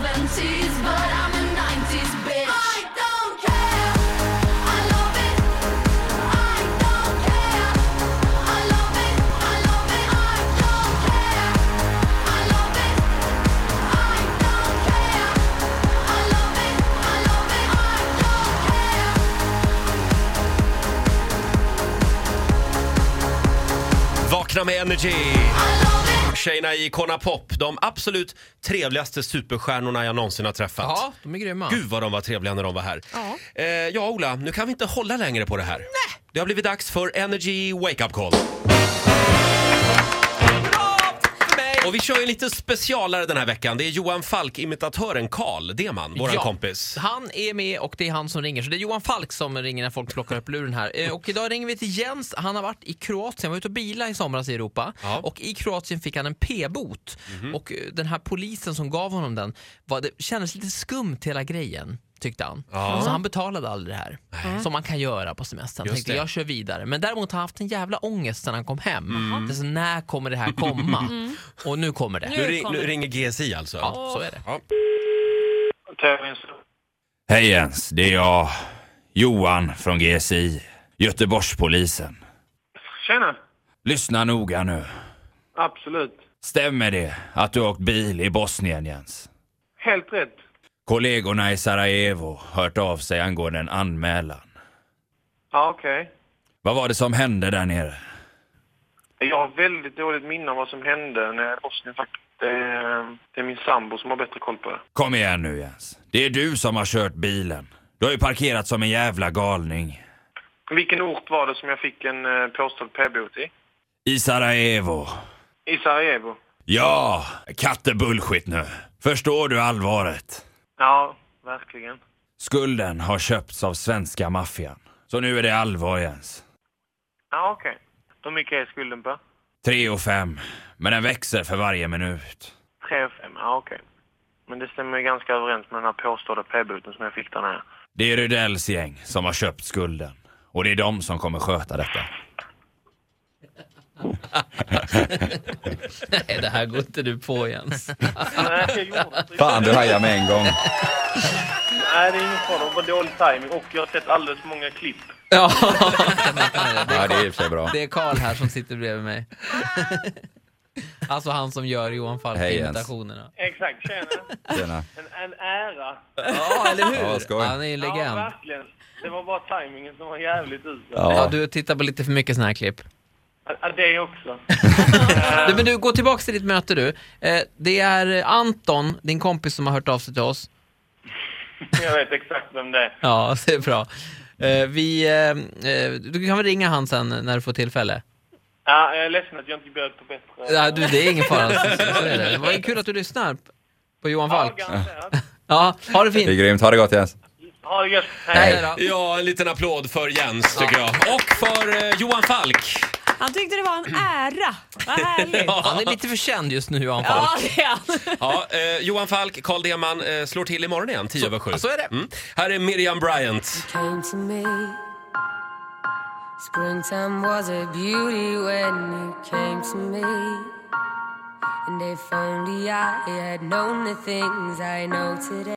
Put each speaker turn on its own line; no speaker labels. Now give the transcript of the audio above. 80s, but I'm a 90s bitch. I don't care. I love it. I don't care. I love it. I love it. I don't care. I love it. I don't care. I love it. I love it. I don't care.
Vakna med Energy!
I love it.
Tjejerna i Icona Pop, de absolut trevligaste superstjärnorna jag någonsin har träffat.
Ja, de är grymma.
Gud vad de var trevliga när de var här.
Ja.
eh, ja Ola, nu kan vi inte hålla längre på det här. Nej. Det har blivit dags för Energy Wake Up Call.
Bra för mig!
Och vi kör ju lite specialare den här veckan. Det är Johan Falk, imitatören Karl Deman, våran
Ja,
kompis.
Han är med och det är han som ringer. Så det är Johan Falk som ringer när folk plockar upp luren här. Eh, Och idag ringer vi till Jens. Han har varit i Kroatien. Han var ute och bila i somras i Europa.
Ja. Mhm.
Och i Kroatien fick han en p-bot. Och eh, den här polisen som gav honom den, var, det kändes lite skumt hela grejen. Tyckte han.
Ja.
Så han betalade aldrig det här. Som man kan göra på semestern.
Just
Tänkte,
det.
jag kör vidare. Men däremot har han haft en jävla ångest sen han kom hem.
Mhm.
Det är så, när kommer det här komma? Och nu kommer det.
Nu, ring, nu ringer GSI alltså.
Ja, så är det.
tävlingsrum.
Hej Jens, det är jag, Johan från GSI, Göteborgspolisen.
Tjena!
Lyssna noga nu.
Absolut.
Stämmer det att du har åkt bil i Bosnien Jens?
Helt rätt.
Kollegorna i Sarajevo har hört av sig angående en anmälan.
Ja, okej.
Vad var det som hände där nere?
Jag har väldigt dåligt minne om vad som hände när jag var i Bosnien faktiskt. Det är, det är min sambo som har bättre koll på det.
Kom igen nu Jens. Det är du som har kört bilen. Du har ju parkerat som en jävla galning.
Vilken ort var det som jag fick en eh, påstådd p-bot i?
I Sarajevo.
I Sarajevo.
Ja, katte bullshit nu. Förstår du allvaret?
Ja, verkligen.
Skulden har köpts av svenska maffian. Så nu är det allvar Jens.
Ja, okej. Hur mycket är skulden på?
Tre och fem, men den växer för varje minut.
3 och 5, ja okej. Men det stämmer ju ganska överens med den här påstådda p-boten som jag fick där nere.
Det är Rydells gäng som har köpt skulden. Och det är de som kommer sköta detta.
Nej, det här går inte du på Jens.
Nej, jag gjorde inte det.
Fan, du hajar med en gång.
Nej, det är ingen fara. Det var dålig timing och jag har sett alldeles för många klipp.
Ja.
Ja, det är i och för sig bra.
Det är Karl här som sitter bredvid mig. Alltså han som gör Johan
Hej, Jens.
Falk-imitationerna.
Exakt, tjena.
Tjena.
En, en ära.
Ja, eller hur?
Ja, skoj.
han är ju en
Ja,
legend. Ja,
verkligen. Det var bara tajmingen som var jävligt usel.
du tittar på lite för mycket såna här klipp.
Ja, det också.
Du, men du, gå tillbaka till ditt möte du. Eh, det är Anton, din kompis, som har hört av sig till oss.
Jag vet exakt vem det är.
Ja, det är bra. Eh, vi, eh, eh, du kan väl ringa han sen när du får tillfälle?
Ja, jag är ledsen att jag inte bjöd på bättre.
Ja, du, det är ingen fara. Så, så är det. det var ju kul att du lyssnar på Johan
Ja,
Falk.
garanterat.
Ja, ha det fint.
är grymt. Ha det gott Jens.
Ha det gött.
Hej då.
Ja, en liten applåd för Jens tycker jag. Och för eh, Johan Falk.
Han tyckte det var en ära. Vad härligt.
Han är lite för känd just nu, Johan Falk.
Ja, det är han.
Ja, eh, Johan Falk, Carl Deman eh, slår till imorgon igen, 10 över 7.
ja, så är det.
Mm. Här är Miriam Bryant.
came to me. Springtime was a beauty when you came to me. And if only I had known the things I know today.